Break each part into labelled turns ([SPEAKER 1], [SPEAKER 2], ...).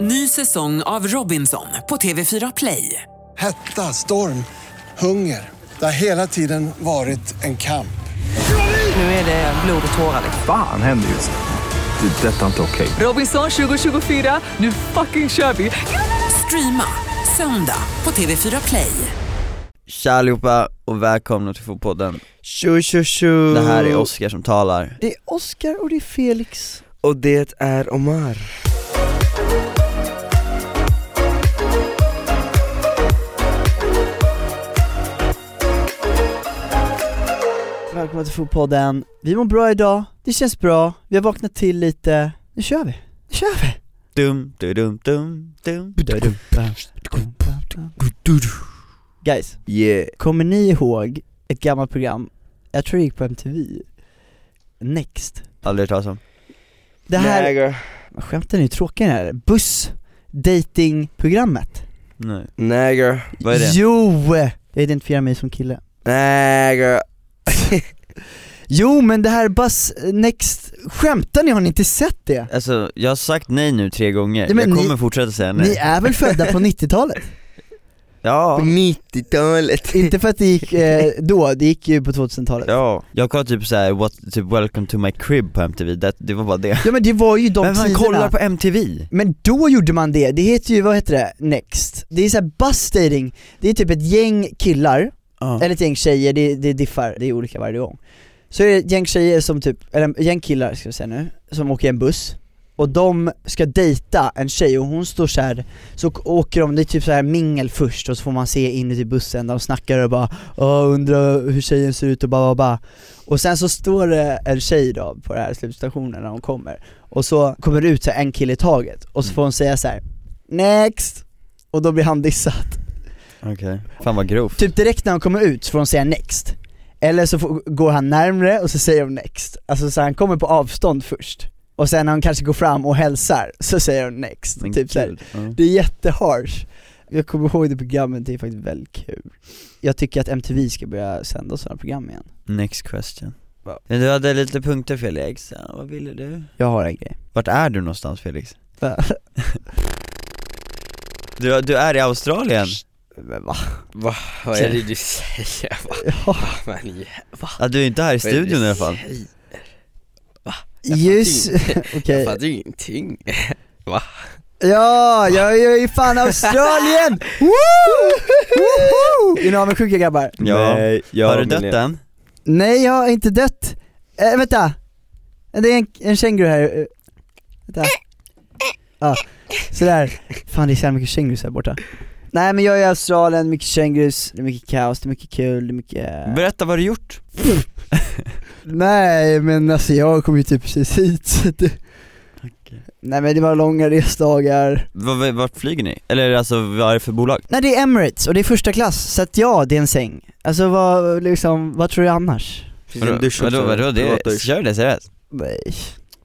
[SPEAKER 1] Ny säsong av Robinson på TV4 Play.
[SPEAKER 2] Hetta, storm, hunger. Det har hela tiden varit en kamp.
[SPEAKER 1] Nu är det blod och tårar. liksom.
[SPEAKER 3] Fan händer just nu. Det. är Detta är inte okej.
[SPEAKER 1] Robinson 2024, nu fucking kör vi! Streama söndag på TV4 Play.
[SPEAKER 4] Tja allihopa och välkomna till Fotpodden.
[SPEAKER 5] Tjo tjo tjo
[SPEAKER 4] Det här är Oskar som talar.
[SPEAKER 5] Det är Oskar och det är Felix Och det är Omar
[SPEAKER 4] Välkomna till Fotpodden. Vi mår bra idag, det känns bra, vi har vaknat till lite. Nu kör vi, nu kör vi! Dum, du, dum, dum, dum, du, dum, bam, dum, bam, dam. Guys,
[SPEAKER 5] Yeah
[SPEAKER 4] kommer ni ihåg ett gammalt program, jag tror det gick på MTV, Next? Aldrig hört talas om. Det här,
[SPEAKER 5] Nej, girl.
[SPEAKER 4] skämten är ju tråkiga den här, buss datingprogrammet Nej,
[SPEAKER 5] Nej girl,
[SPEAKER 4] vad är det? Jo! Jag identifierar mig som kille
[SPEAKER 5] nej girl
[SPEAKER 4] Jo men det här Buzz Next, skämtar ni? Har ni inte sett det?
[SPEAKER 6] Alltså jag har sagt nej nu tre gånger,
[SPEAKER 4] Ja, men
[SPEAKER 6] jag
[SPEAKER 4] ni-
[SPEAKER 6] kommer fortsätta säga nej.
[SPEAKER 4] Ni Mm. är väl födda på 90-talet?
[SPEAKER 5] På
[SPEAKER 6] Ja,
[SPEAKER 5] 90-talet
[SPEAKER 4] inte för att det gick eh, då, det gick ju på 2000-talet ja.
[SPEAKER 6] ja. Jag kollade typ såhär, what, typ 'Welcome to my crib' på MTV, det, det var bara det.
[SPEAKER 4] men det var ju de
[SPEAKER 6] Men man
[SPEAKER 4] tiderna
[SPEAKER 6] kollar på MTV?
[SPEAKER 4] Men då gjorde man det, det heter ju, vad heter det, Next? Det är såhär buzz dating, det är typ ett gäng killar, eller ett gäng tjejer, det, det diffar, det är olika varje gång Så är det ett gäng tjejer som typ, eller ett gäng killar ska vi säga nu, som åker i en buss och de ska dejta en tjej och hon står så här så å- åker de, det är typ så här mingel först och så får man se inuti bussen där de snackar och bara Åh, undrar hur tjejen ser ut och bara, bara, bara. Och sen så står det en tjej då på den här slutstationen när hon kommer och så kommer det ut så här en kille i taget och så får hon säga så här: next! Och då blir han dissad.
[SPEAKER 6] Okej, fan vad grovt.
[SPEAKER 4] Typ direkt när hon kommer ut så får hon säga next. Eller så får, går han närmre och så säger hon next. Alltså så han kommer på avstånd först. Och sen när hon kanske går fram och hälsar så säger hon next.
[SPEAKER 6] Men
[SPEAKER 4] typ så här.
[SPEAKER 6] gud, ja.
[SPEAKER 4] Det är jätteharsh. Jag kommer ihåg det programmet, det är faktiskt väldigt kul. Jag tycker att MTV ska börja sända sådana program igen.
[SPEAKER 6] Next question.
[SPEAKER 4] Va?
[SPEAKER 6] Men du hade lite punkter Felix, ja, vad ville du?
[SPEAKER 4] Jag har en grej.
[SPEAKER 6] Vart är du någonstans Felix? Du, du är i Australien?
[SPEAKER 4] Men va?
[SPEAKER 5] Va, vad är det du säger? Va,
[SPEAKER 4] Ja.
[SPEAKER 5] man, i-
[SPEAKER 6] Ja, du är inte här i
[SPEAKER 5] vad är det du
[SPEAKER 6] studion i alla fall.
[SPEAKER 5] säger?
[SPEAKER 4] Just, okej.
[SPEAKER 5] Jag fattar ju ingenting
[SPEAKER 4] Ja, jag är ju i fan Australien! Woo! Woho! Är ni avundsjuka grabbar?
[SPEAKER 6] Ja.
[SPEAKER 5] Nej, jag
[SPEAKER 6] Har du
[SPEAKER 5] men
[SPEAKER 6] dött
[SPEAKER 5] jag-
[SPEAKER 6] än?
[SPEAKER 4] Nej, jag har inte dött. Äh, vänta! Det är en, en känguru här. Eh, Vänta. Ja, sådär. Fan det är så jävla mycket kängurus här borta. Nej men jag är i Australien, mycket kängurus, det är mycket kaos, det är mycket kul, det är mycket... eh.
[SPEAKER 6] Berätta vad du gjort?
[SPEAKER 4] Nej men alltså jag kom ju typ precis hit så att det... Nej men det var långa resdagar.
[SPEAKER 6] Vart, vart flyger ni? Eller alltså vad är det för bolag?
[SPEAKER 4] Nej det är Emirates och det är första klass, så att ja det är en säng. Alltså vad, liksom, vad tror du annars?
[SPEAKER 5] Finns det
[SPEAKER 6] Vadå,
[SPEAKER 5] en dusch
[SPEAKER 6] vadå,
[SPEAKER 5] också?
[SPEAKER 6] vadå,
[SPEAKER 5] Privat
[SPEAKER 6] det,
[SPEAKER 5] dusch.
[SPEAKER 6] kör det seriöst?
[SPEAKER 4] Nej.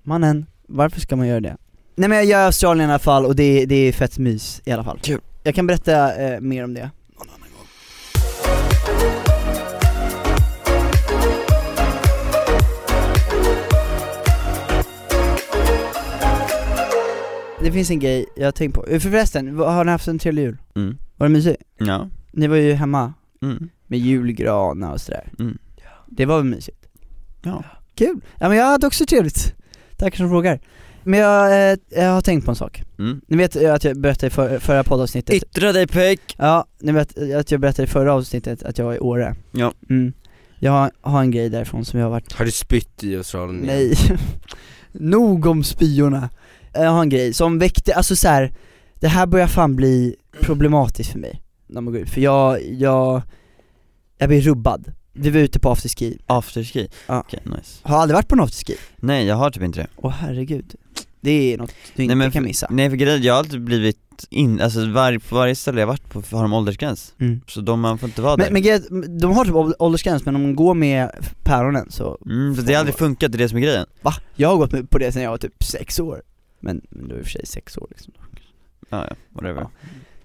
[SPEAKER 4] Mannen, varför ska man göra det? Nej men jag gör Australien i alla fall och det, det är fett mys i alla fall.
[SPEAKER 5] Kul.
[SPEAKER 4] Jag kan berätta eh, mer om det. Det finns en grej jag har tänkt på. Eh, Förresten, vad- har ni haft en trevlig jul?
[SPEAKER 6] Mm.
[SPEAKER 4] Var det mysigt?
[SPEAKER 6] Ja.
[SPEAKER 4] Ni var ju hemma
[SPEAKER 6] Mm.
[SPEAKER 4] med julgranar och sådär.
[SPEAKER 6] Mm.
[SPEAKER 4] Det var väl mysigt?
[SPEAKER 6] Ja.
[SPEAKER 4] Kul! Ja men jag hade också trevligt, tackar som frågar. Men jag, eh, jag har tänkt på en sak.
[SPEAKER 6] Mm.
[SPEAKER 4] Ni vet eh, att jag berättade i för, förra poddavsnittet,
[SPEAKER 6] Yttra dig pek!
[SPEAKER 4] ja, ni vet eh, att jag berättade i förra avsnittet att jag var i Åre.
[SPEAKER 6] Ja.
[SPEAKER 4] Mm. Jag har, har en grej därifrån som jag har varit
[SPEAKER 5] Har du spytt i Australien? igen?
[SPEAKER 4] Nej, nog om spyorna. Jag har en grej som väckte, alltså så här. det här börjar fan bli problematiskt för mig när man går ut, för jag, jag, jag blir rubbad. Vi var ute på afterski,
[SPEAKER 6] Afterski?
[SPEAKER 4] Ja.
[SPEAKER 6] Okej, nice
[SPEAKER 4] har aldrig varit på en afterski.
[SPEAKER 6] Nej jag har typ inte det
[SPEAKER 4] Åh herregud, det är något du inte
[SPEAKER 6] men
[SPEAKER 4] kan
[SPEAKER 6] för-
[SPEAKER 4] missa.
[SPEAKER 6] Nej för grejen, jag har alltid blivit in, alltså var, på varje ställe jag varit på har de åldersgräns
[SPEAKER 4] Mm.
[SPEAKER 6] Så de, man får inte vara
[SPEAKER 4] Men,
[SPEAKER 6] där
[SPEAKER 4] men grejen- de har typ ål- åldersgräns men om de går med päronen så,
[SPEAKER 6] mm, för det har aldrig funkat, det är det som är grejen
[SPEAKER 4] va? Jag har gått med på det sedan jag var typ sex år. Men, men då är i och för sig sex år liksom.
[SPEAKER 6] Ja, ja, whatever
[SPEAKER 4] Ja.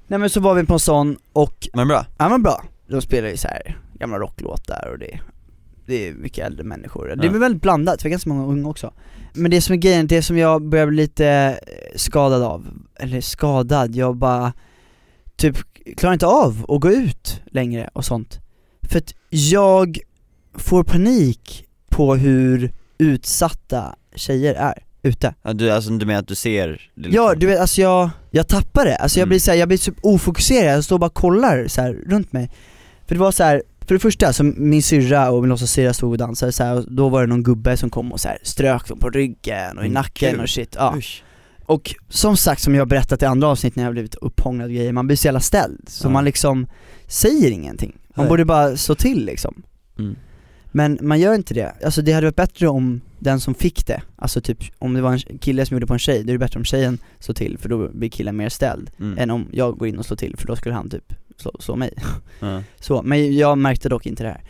[SPEAKER 4] Nej men så var vi på en sån och
[SPEAKER 6] Men bra,
[SPEAKER 4] Ja men bra, de spelar ju så här gamla rocklåtar och det det är mycket äldre människor. Det är
[SPEAKER 6] Ja.
[SPEAKER 4] väl väldigt blandat, för det är ganska många unga också. Men det som är grejen, det som jag börjar bli lite eh, skadad av, eller skadad, jag bara typ klarar inte av att gå ut längre och sånt. För att jag får panik på hur utsatta tjejer är ute.
[SPEAKER 6] Ja, du, alltså du menar att du ser? det
[SPEAKER 4] Ja,
[SPEAKER 6] liksom?
[SPEAKER 4] du vet alltså jag, jag tappar det, alltså jag
[SPEAKER 6] Mm.
[SPEAKER 4] blir så här, jag blir typ ofokuserad, jag står och bara kollar så här runt mig För det var så här, för det första, så min syrra och min låtsasyrra stod och dansade så här, och då var det någon gubbe som kom och så här, strök dem på ryggen och i
[SPEAKER 6] Men
[SPEAKER 4] nacken
[SPEAKER 6] gud.
[SPEAKER 4] och shit, ja
[SPEAKER 6] Usch.
[SPEAKER 4] Och som sagt, som jag berättat i andra avsnitt när jag har blivit upphånglad och grejer, man blir så jävla ställd, så
[SPEAKER 6] Ja.
[SPEAKER 4] man liksom säger ingenting Man
[SPEAKER 6] Nej.
[SPEAKER 4] borde bara slå till liksom
[SPEAKER 6] Mm.
[SPEAKER 4] men man gör inte det, alltså det hade varit bättre om den som fick det, alltså typ om det var en kille som gjorde på en tjej, då är det bättre om tjejen slår till för då blir killen mer ställd
[SPEAKER 6] Mm.
[SPEAKER 4] än om jag går in och slår till för då skulle han typ slå, slå mig.
[SPEAKER 6] Ja.
[SPEAKER 4] Så, men jag märkte dock inte det här.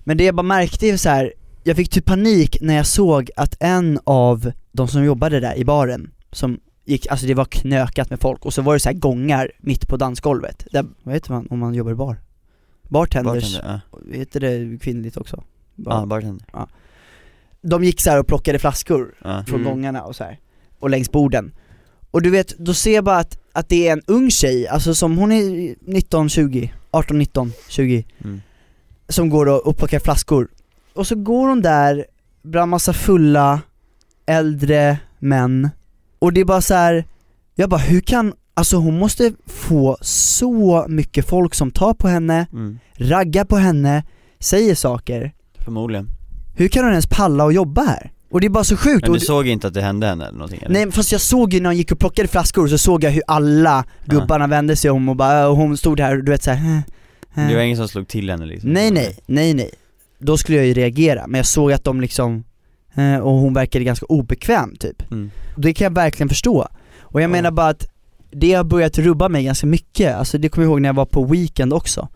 [SPEAKER 4] Men det jag bara märkte är så här. jag fick typ panik när jag såg att en av de som jobbade där i baren, som gick, alltså det var knökat med folk och så var det så här gångar mitt på dansgolvet, där, vad heter man om man jobbar i bar? Bartenders,
[SPEAKER 6] Bartender,
[SPEAKER 4] heter det kvinnligt också?
[SPEAKER 6] ja. Ja, bartender.
[SPEAKER 4] de gick så här och plockade flaskor
[SPEAKER 6] Ja.
[SPEAKER 4] från
[SPEAKER 5] Mm.
[SPEAKER 4] gångarna och så här och längs borden. Och du vet, då ser jag bara att, att det är en ung tjej, alltså som hon är 19, 20, 18, 19, 20,
[SPEAKER 6] Mm.
[SPEAKER 4] som går och, och plockar flaskor. Och så går hon där bland massa fulla, äldre män, och det är bara så här. jag bara hur kan, alltså hon måste få så mycket folk som tar på henne,
[SPEAKER 6] Mm.
[SPEAKER 4] raggar på henne, säger saker.
[SPEAKER 6] Förmodligen.
[SPEAKER 4] Hur kan hon ens palla och jobba här? Och det är bara så sjukt.
[SPEAKER 6] Men
[SPEAKER 4] och
[SPEAKER 6] du
[SPEAKER 4] det-
[SPEAKER 6] såg inte att det hände henne eller någonting? Eller?
[SPEAKER 4] Nej men fast jag såg ju när hon gick och plockade flaskor så såg jag hur alla gubbarna vände sig om och bara, "Äh", och hon stod där och du vet såhär
[SPEAKER 6] Det var ingen som slog till henne liksom?
[SPEAKER 4] Typ. Nej nej, nej nej. Då skulle jag ju reagera, men jag såg att de liksom, eh, och hon verkade ganska obekväm typ.
[SPEAKER 6] Mm.
[SPEAKER 4] Det kan jag verkligen förstå. Och jag
[SPEAKER 6] Ja.
[SPEAKER 4] menar bara att det har börjat rubba mig ganska mycket, alltså det kommer jag ihåg när jag var på weekend också.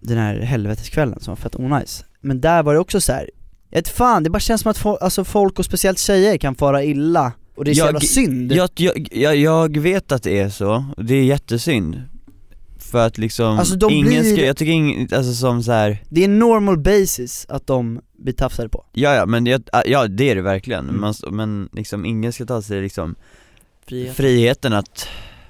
[SPEAKER 4] Den här helveteskvällen som var fett onajs. Men där var det också så här. jag vet fan, det bara känns som att fo- alltså folk och speciellt tjejer kan fara illa. Och det är så
[SPEAKER 6] Jag-
[SPEAKER 4] jävla synd.
[SPEAKER 6] Jag, jag, jag, jag vet att det är så, och det är jättesynd För att liksom,
[SPEAKER 4] Alltså, de
[SPEAKER 6] ingen
[SPEAKER 4] blir-
[SPEAKER 6] ska, jag tycker ingen, alltså som så här.
[SPEAKER 4] Det är normal basis att de blir tafsade på.
[SPEAKER 6] ja ja men jag, ah, ja det är det verkligen,
[SPEAKER 4] Mm.
[SPEAKER 6] Man, men liksom ingen ska ta sig liksom
[SPEAKER 4] Frihet.
[SPEAKER 6] friheten att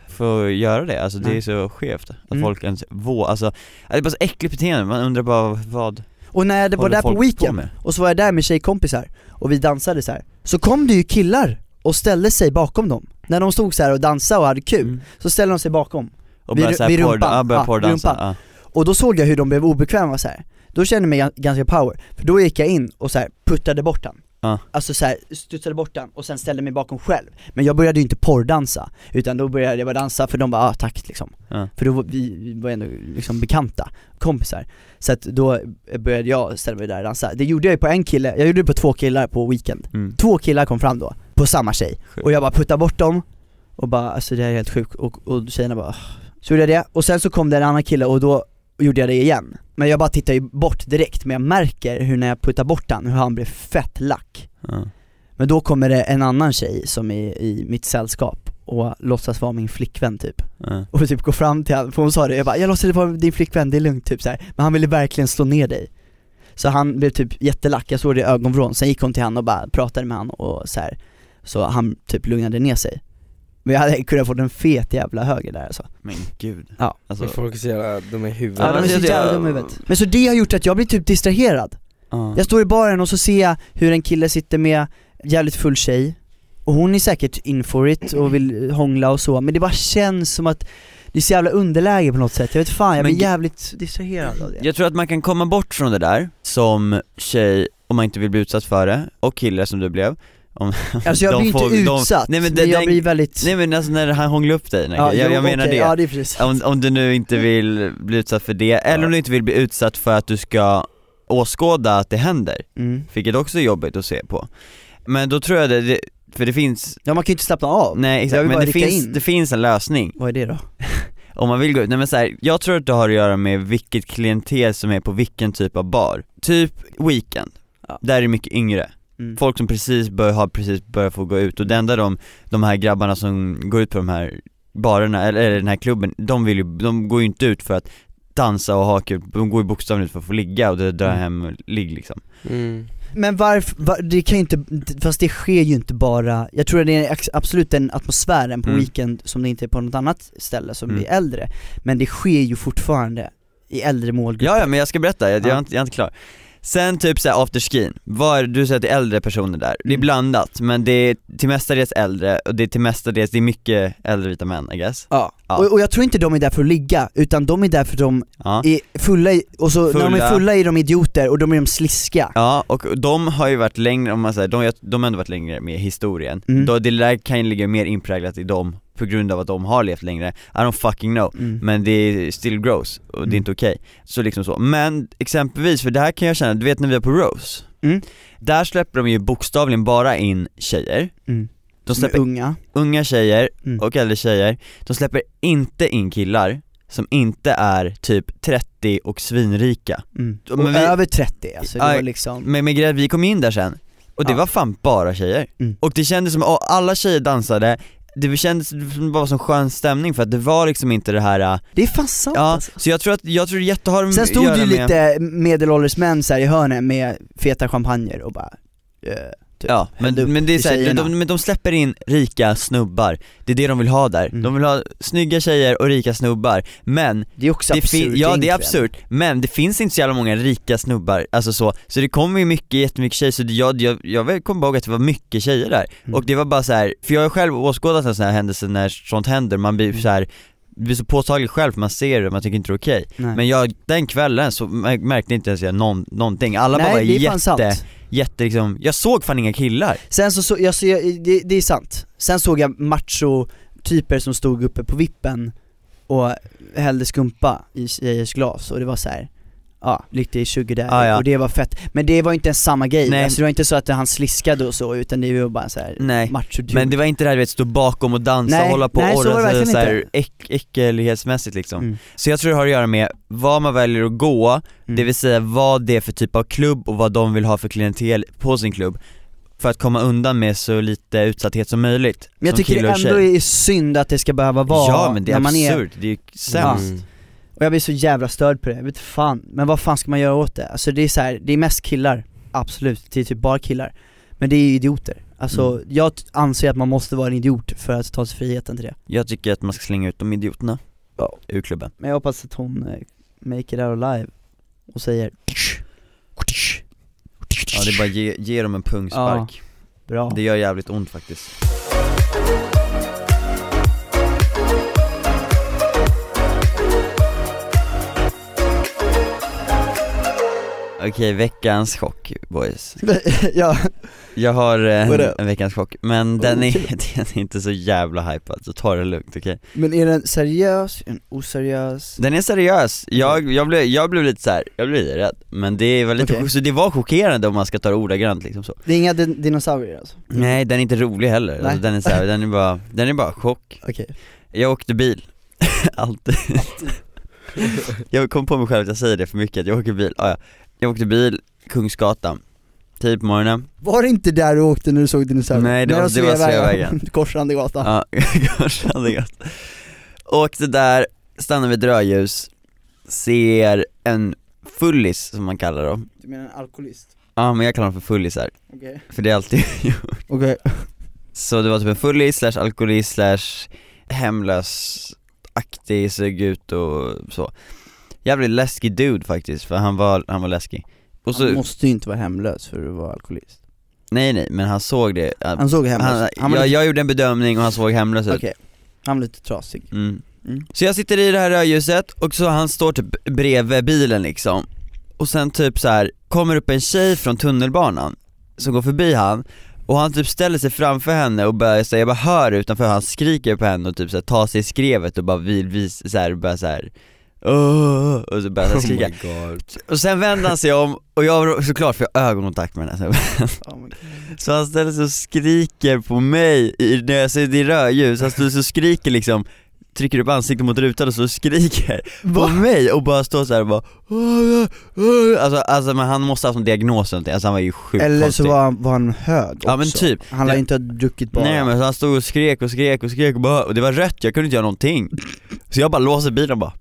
[SPEAKER 6] få göra det, alltså det
[SPEAKER 4] Nej.
[SPEAKER 6] är så skevt att
[SPEAKER 4] Mm.
[SPEAKER 6] folk ens vå, alltså, det är bara så äckligt beteende, man undrar bara vad
[SPEAKER 4] Och när det var
[SPEAKER 6] håller
[SPEAKER 4] där på
[SPEAKER 6] folk
[SPEAKER 4] weekend,
[SPEAKER 6] med?
[SPEAKER 4] och så var jag där med tjejkompisar, och vi dansade så här. så kom det ju killar och ställde sig bakom dem. När de stod så här och dansade och hade kul,
[SPEAKER 6] Mm.
[SPEAKER 4] så ställde de sig bakom.
[SPEAKER 6] Och
[SPEAKER 4] Vid-
[SPEAKER 6] börjar såhär
[SPEAKER 4] vid
[SPEAKER 6] porr,
[SPEAKER 4] rumpan.
[SPEAKER 6] ja, börjar
[SPEAKER 4] Ja,
[SPEAKER 6] porrdansa, Ah,
[SPEAKER 4] rumpan.
[SPEAKER 6] ja,
[SPEAKER 4] Och då såg jag hur de blev obekväma så här. då kände jag mig gan- ganska power, för då gick jag in och så här puttade bort den.
[SPEAKER 6] Ja.
[SPEAKER 4] Alltså så här, studsade bort den och sen ställde mig bakom själv. Men jag började ju inte porrdansa, utan då började jag bara dansa för de bara ah, tack liksom.
[SPEAKER 6] Ja.
[SPEAKER 4] För då var vi, vi var ändå liksom bekanta, kompisar. Så att då började jag ställa mig där och dansa. Det gjorde jag ju på en kille, jag gjorde det på två killar på weekend.
[SPEAKER 6] mm.
[SPEAKER 4] Två killar kom fram då, på samma tjej.
[SPEAKER 6] Sjukt.
[SPEAKER 4] Och jag bara puttade bort dem, och bara alltså det här är helt sjukt, och, och tjejerna bara "Åh." Så gjorde jag det, och sen så kom det en annan kille och då gjorde jag det igen. Men jag bara tittar ju bort direkt, men jag märker hur när jag puttar bort han, hur han blir fett lack.
[SPEAKER 6] ja.
[SPEAKER 4] Men då kommer det en annan tjej som är i mitt sällskap och låtsas vara min flickvän typ
[SPEAKER 6] Ja.
[SPEAKER 4] och typ gå fram till honom, för hon sa det, jag bara 'Jag låtsade vara din flickvän, det är lugnt' typ så här. Men han ville verkligen slå ner dig Så han blev typ jättelack, jag såg det i ögonvrån, sen gick hon till han och bara pratade med han och så här. Så han typ lugnade ner sig Men jag hade kunnat fått en fet jävla höger där alltså
[SPEAKER 6] Men gud
[SPEAKER 4] Ja.
[SPEAKER 6] alltså,
[SPEAKER 5] Folk är så jävla dumma i huvudet
[SPEAKER 6] Ja,
[SPEAKER 4] Ja, de är
[SPEAKER 6] men
[SPEAKER 4] så
[SPEAKER 6] det-
[SPEAKER 4] jävla dumma i huvudet. Men så det har gjort att jag blir typ distraherad
[SPEAKER 6] ja.
[SPEAKER 4] Jag står i baren och så ser jag hur en kille sitter med jävligt full tjej och hon är säkert in for it och vill hångla och så, men det bara känns som att det är så jävla underläge på något sätt, jag vet fan, jag
[SPEAKER 6] Men
[SPEAKER 4] blir
[SPEAKER 6] ge-
[SPEAKER 4] jävligt distraherad av det
[SPEAKER 6] Jag tror att man kan komma bort från det där som tjej om man inte vill bli utsatt för det, och kille som du blev om,
[SPEAKER 4] Alltså jag
[SPEAKER 6] de
[SPEAKER 4] blir inte
[SPEAKER 6] får- de-
[SPEAKER 4] utsatt,
[SPEAKER 6] nej, men
[SPEAKER 4] men,
[SPEAKER 6] det-
[SPEAKER 4] jag
[SPEAKER 6] den-
[SPEAKER 4] blir väldigt...
[SPEAKER 6] Nej men alltså när han hånglade upp dig, ja, jag,
[SPEAKER 4] jo,
[SPEAKER 6] jag menar
[SPEAKER 4] okej,
[SPEAKER 6] det
[SPEAKER 4] Ja Mm. det är precis.
[SPEAKER 6] om, om du nu inte vill bli utsatt för det, eller om du inte vill bli utsatt för att du ska åskåda att det händer,
[SPEAKER 4] Mm.
[SPEAKER 6] vilket också är jobbigt att se på Men då tror jag det, det för det finns,
[SPEAKER 4] Ja man kan ju inte slappna av.
[SPEAKER 6] nej
[SPEAKER 4] Jag
[SPEAKER 6] exakt,
[SPEAKER 4] vill
[SPEAKER 6] men
[SPEAKER 4] bara
[SPEAKER 6] det
[SPEAKER 4] rycka
[SPEAKER 6] finns,
[SPEAKER 4] in.
[SPEAKER 6] det finns en lösning
[SPEAKER 4] Vad är det då?
[SPEAKER 6] om man vill gå ut, nej men så här, jag tror att det har att göra med vilket klientel som är på vilken typ av bar Typ weekend,
[SPEAKER 4] Ja.
[SPEAKER 6] där är det mycket yngre
[SPEAKER 4] Mm.
[SPEAKER 6] Folk som precis bör, har precis börjat få gå ut och det enda de, de här grabbarna som går ut på de här barerna, eller, eller den här klubben, de vill ju, de går ju inte ut för att dansa och ha kul, de går ju bokstavligt för att få ligga och dra- dra
[SPEAKER 4] Mm.
[SPEAKER 6] hem ligg liksom
[SPEAKER 5] Mm.
[SPEAKER 4] Men varför, var, det kan ju inte, fast det sker ju inte bara, jag tror det är ex- absolut den atmosfären på
[SPEAKER 6] Mm.
[SPEAKER 4] weekend som det inte är på något annat ställe som
[SPEAKER 6] Mm.
[SPEAKER 4] blir äldre, men det sker ju fortfarande i äldre målgrupper.
[SPEAKER 6] Ja, ja men jag ska berätta, jag, jag,
[SPEAKER 4] Ja.
[SPEAKER 6] är, inte, jag är inte klar. Sen typ såhär afterskin, Vad är det- du säger att det är äldre personer där, det är
[SPEAKER 4] Mm.
[SPEAKER 6] blandat men det är till mestadels äldre och det är till mestadels, det är mycket äldre vita män I guess
[SPEAKER 4] Ja.
[SPEAKER 6] Ja.
[SPEAKER 4] Och, och jag tror inte de är där för att ligga, utan de är där för att de
[SPEAKER 6] Ja,
[SPEAKER 4] är fulla i, och så när de
[SPEAKER 6] Fulla.
[SPEAKER 4] är fulla är de idioter och de är de sliskiga.
[SPEAKER 6] ja och de har ju varit längre, om man säger, de, de har ändå varit längre med historien,
[SPEAKER 4] Mm.
[SPEAKER 6] då, det där kan ju ligga mer inpräglat i dem på grund av att de har levt längre, I don't fucking know
[SPEAKER 4] Mm.
[SPEAKER 6] men det är still gross och det
[SPEAKER 4] Mm.
[SPEAKER 6] är inte okej. Så liksom så. Men exempelvis, för det här kan jag känna, du vet när vi var på Rose,
[SPEAKER 4] Mm.
[SPEAKER 6] där släpper de ju bokstavligen bara in tjejer,
[SPEAKER 4] Mm.
[SPEAKER 6] de
[SPEAKER 4] Som är
[SPEAKER 6] släpper
[SPEAKER 4] unga.
[SPEAKER 6] unga tjejer
[SPEAKER 4] Mm.
[SPEAKER 6] och äldre tjejer, de släpper inte in killar som inte är typ 30 och svinrika.
[SPEAKER 4] Mm.
[SPEAKER 6] Ja,
[SPEAKER 4] Och
[SPEAKER 6] men vi-
[SPEAKER 4] över 30 alltså, det
[SPEAKER 6] Aj. Mm.
[SPEAKER 4] var liksom,
[SPEAKER 6] Men med grejen är att vi kom in där sen, och det
[SPEAKER 4] Ja.
[SPEAKER 6] var fan bara tjejer.
[SPEAKER 4] Mm.
[SPEAKER 6] Och det kändes som, och alla tjejer dansade, det kändes som det var sån skön stämning för att det var liksom inte det här, äh,
[SPEAKER 4] det är fan sant
[SPEAKER 6] ja,
[SPEAKER 4] alltså.
[SPEAKER 6] så jag tror att, jag tror det jätte har
[SPEAKER 4] Sen stod
[SPEAKER 6] göra
[SPEAKER 4] det ju
[SPEAKER 6] med-
[SPEAKER 4] lite medelålders män så här i hörnen med feta champagner och bara eh, typ,
[SPEAKER 6] Ja, men,
[SPEAKER 4] hällde upp
[SPEAKER 6] men det är
[SPEAKER 4] i
[SPEAKER 6] så här, de,
[SPEAKER 4] tjejerna.
[SPEAKER 6] de, men de släpper in rika snubbar, det är det de vill ha där.
[SPEAKER 4] Mm.
[SPEAKER 6] De vill ha snygga tjejer och rika snubbar, men
[SPEAKER 4] Det är också
[SPEAKER 6] det
[SPEAKER 4] absurt
[SPEAKER 6] fin- ja det är
[SPEAKER 4] egentligen.
[SPEAKER 6] absurt, men det finns inte så jävla många rika snubbar, alltså så, så det kommer ju mycket, jättemycket tjejer, så det, jag, jag, jag kommer ihåg att det var mycket tjejer där,
[SPEAKER 4] Mm.
[SPEAKER 6] och det var bara så här, för jag har själv åskådat en sån här händelse när sånt händer, man
[SPEAKER 4] Mm.
[SPEAKER 6] blir så här blir så påtaglig själv, för man ser det, man tycker inte det är okej.
[SPEAKER 4] Nej.
[SPEAKER 6] Men jag, den kvällen så mär- märkte inte ens jag någon, någonting, alla
[SPEAKER 4] Nej,
[SPEAKER 6] bara var
[SPEAKER 4] det är
[SPEAKER 6] jätte,
[SPEAKER 4] fan sant.
[SPEAKER 6] jätte liksom, jag såg fan inga killar.
[SPEAKER 4] Sen så, så jag, så jag det, det är sant. Sen såg jag macho-typer som stod uppe på vippen och hällde skumpa i tjejers glas och det var så här. Ja, lite sugar där
[SPEAKER 6] Ah, ja.
[SPEAKER 4] och det var fett. Men det var inte ens samma grej,
[SPEAKER 6] Nej.
[SPEAKER 4] Alltså, det var inte så att han sliskade och så utan det var bara så här
[SPEAKER 6] Nej.
[SPEAKER 4] macho dude.
[SPEAKER 6] Men det var inte det här du vet, stå bakom och dansa
[SPEAKER 4] Typ. Nej,
[SPEAKER 6] och hålla på
[SPEAKER 4] nej,
[SPEAKER 6] och
[SPEAKER 4] så var det
[SPEAKER 6] orra sig
[SPEAKER 4] verkligen
[SPEAKER 6] såhär äck, äckelhetsmässigt liksom.
[SPEAKER 4] Mm.
[SPEAKER 6] Så jag tror det har att göra med vad man väljer att gå, det
[SPEAKER 4] Mm.
[SPEAKER 6] vill säga vad det är för typ av klubb och vad de vill ha för klientel på sin klubb för att komma undan med så lite utsatthet som möjligt
[SPEAKER 4] Men
[SPEAKER 6] som
[SPEAKER 4] jag tycker
[SPEAKER 6] kille
[SPEAKER 4] det
[SPEAKER 6] och
[SPEAKER 4] ändå
[SPEAKER 6] tjej.
[SPEAKER 4] är synd att det ska behöva vara
[SPEAKER 6] Ja men det är
[SPEAKER 4] när man är,
[SPEAKER 6] absurt, det är ju sämst
[SPEAKER 5] Mm.
[SPEAKER 4] och jag blir så jävla störd på det, jag vet fan, men vad fan ska man göra åt det? Alltså det är så här, det är mest killar, absolut, det är typ bara killar Men det är ju idioter, alltså
[SPEAKER 6] Mm.
[SPEAKER 4] jag t- anser att man måste vara en idiot för att ta sig friheten till det
[SPEAKER 6] Jag tycker att man ska slänga ut de idioterna
[SPEAKER 4] Ja.
[SPEAKER 6] ur klubben
[SPEAKER 4] Men jag hoppas att hon eh, make it out alive och säger
[SPEAKER 6] Ja det är bara ge, ge dem en pungspark,
[SPEAKER 4] bra
[SPEAKER 6] det gör jävligt ont faktiskt Okej, veckans chock boys.
[SPEAKER 4] Ja,
[SPEAKER 6] Jag har eh,
[SPEAKER 4] Vad är det?
[SPEAKER 6] en veckans chock, men den är,
[SPEAKER 4] Okej.
[SPEAKER 6] den är inte så jävla hypad så ta det lugnt okej?
[SPEAKER 4] men är den seriös, är den oseriös?
[SPEAKER 6] Den är seriös, jag, jag, blev, jag blev lite så här, jag blev lite rädd Men det var lite,
[SPEAKER 4] Okej.
[SPEAKER 6] så det var chockerande om man ska ta det ordagrant liksom så
[SPEAKER 4] Det är inga din- dinosaurier alltså?
[SPEAKER 6] Nej den är inte rolig heller,
[SPEAKER 4] Nej.
[SPEAKER 6] alltså, den är så här, den är bara, den är bara chock
[SPEAKER 4] Okej
[SPEAKER 6] Jag åkte bil, alltid Jag kom på mig själv att jag säger det för mycket, att jag åker bil, ah, ja. Jag åkte bil, Kungsgatan, tidigt på morgonen
[SPEAKER 4] Var det inte där du åkte när du såg dinosaurier?
[SPEAKER 6] Nej, det
[SPEAKER 4] När
[SPEAKER 6] var-
[SPEAKER 4] de
[SPEAKER 6] det var
[SPEAKER 4] Sveavägen.
[SPEAKER 6] Sveavägen.
[SPEAKER 4] Korsande gatan.
[SPEAKER 6] Ja, kanske hade gått. Åkte där, stannade vid ett rödljus, ser en fullis som man kallar dem
[SPEAKER 4] Du menar en alkoholist?
[SPEAKER 6] Ja men jag kallar dem för fullisar,
[SPEAKER 4] Okej.
[SPEAKER 6] för det är alltid
[SPEAKER 4] Okej.
[SPEAKER 6] Så det var typ en fullis slash alkoholist slash hemlös aktig, såg ut och så Jävligt läskig dude faktiskt, för han var, han var läskig och
[SPEAKER 4] Han
[SPEAKER 6] så,
[SPEAKER 4] måste ju inte vara hemlös för att vara alkoholist.
[SPEAKER 6] nej nej men han såg det, han,
[SPEAKER 4] Han såg hemlös
[SPEAKER 6] han,
[SPEAKER 4] Han var
[SPEAKER 6] jag,
[SPEAKER 4] lite,
[SPEAKER 6] jag gjorde en bedömning och han såg hemlös ut
[SPEAKER 4] okej. Han var lite trasig.
[SPEAKER 6] Mm.
[SPEAKER 4] Mm.
[SPEAKER 6] Så jag sitter i det här rödljuset och så han står typ bredvid bilen liksom Och sen typ så här kommer upp en tjej från tunnelbanan som går förbi han och han typ ställer sig framför henne och börjar säga, jag bara hör utanför hur han skriker på henne och typ så här, tar sig i skrevet och bara vill vis, så här, börjar så här "Åh", och så börjar han
[SPEAKER 5] Oh
[SPEAKER 6] skrika.
[SPEAKER 5] my god.
[SPEAKER 6] och sen vänder han sig om och jag såklart får jag ögonkontakt med den här
[SPEAKER 4] Oh my God.
[SPEAKER 6] så han ställer sig och skriker på mig i, när jag ser det i rödljus, han står så och skriker liksom Trycker upp ansiktet mot rutan och så skriker på mig och bara står såhär och bara "Åh, åh." alltså, alltså men han måste ha haft en diagnos eller någonting, alltså han var ju sjukt
[SPEAKER 4] Eller så
[SPEAKER 6] konstig.
[SPEAKER 4] var han, var han hög också.
[SPEAKER 6] Ja men typ,
[SPEAKER 4] Han lär
[SPEAKER 6] Ja.
[SPEAKER 4] ju inte ha druckit bara.
[SPEAKER 6] nej men så han stod och skrek och skrek och skrek och bara, och det var rött, jag kunde inte göra någonting Så jag bara låser bilen och bara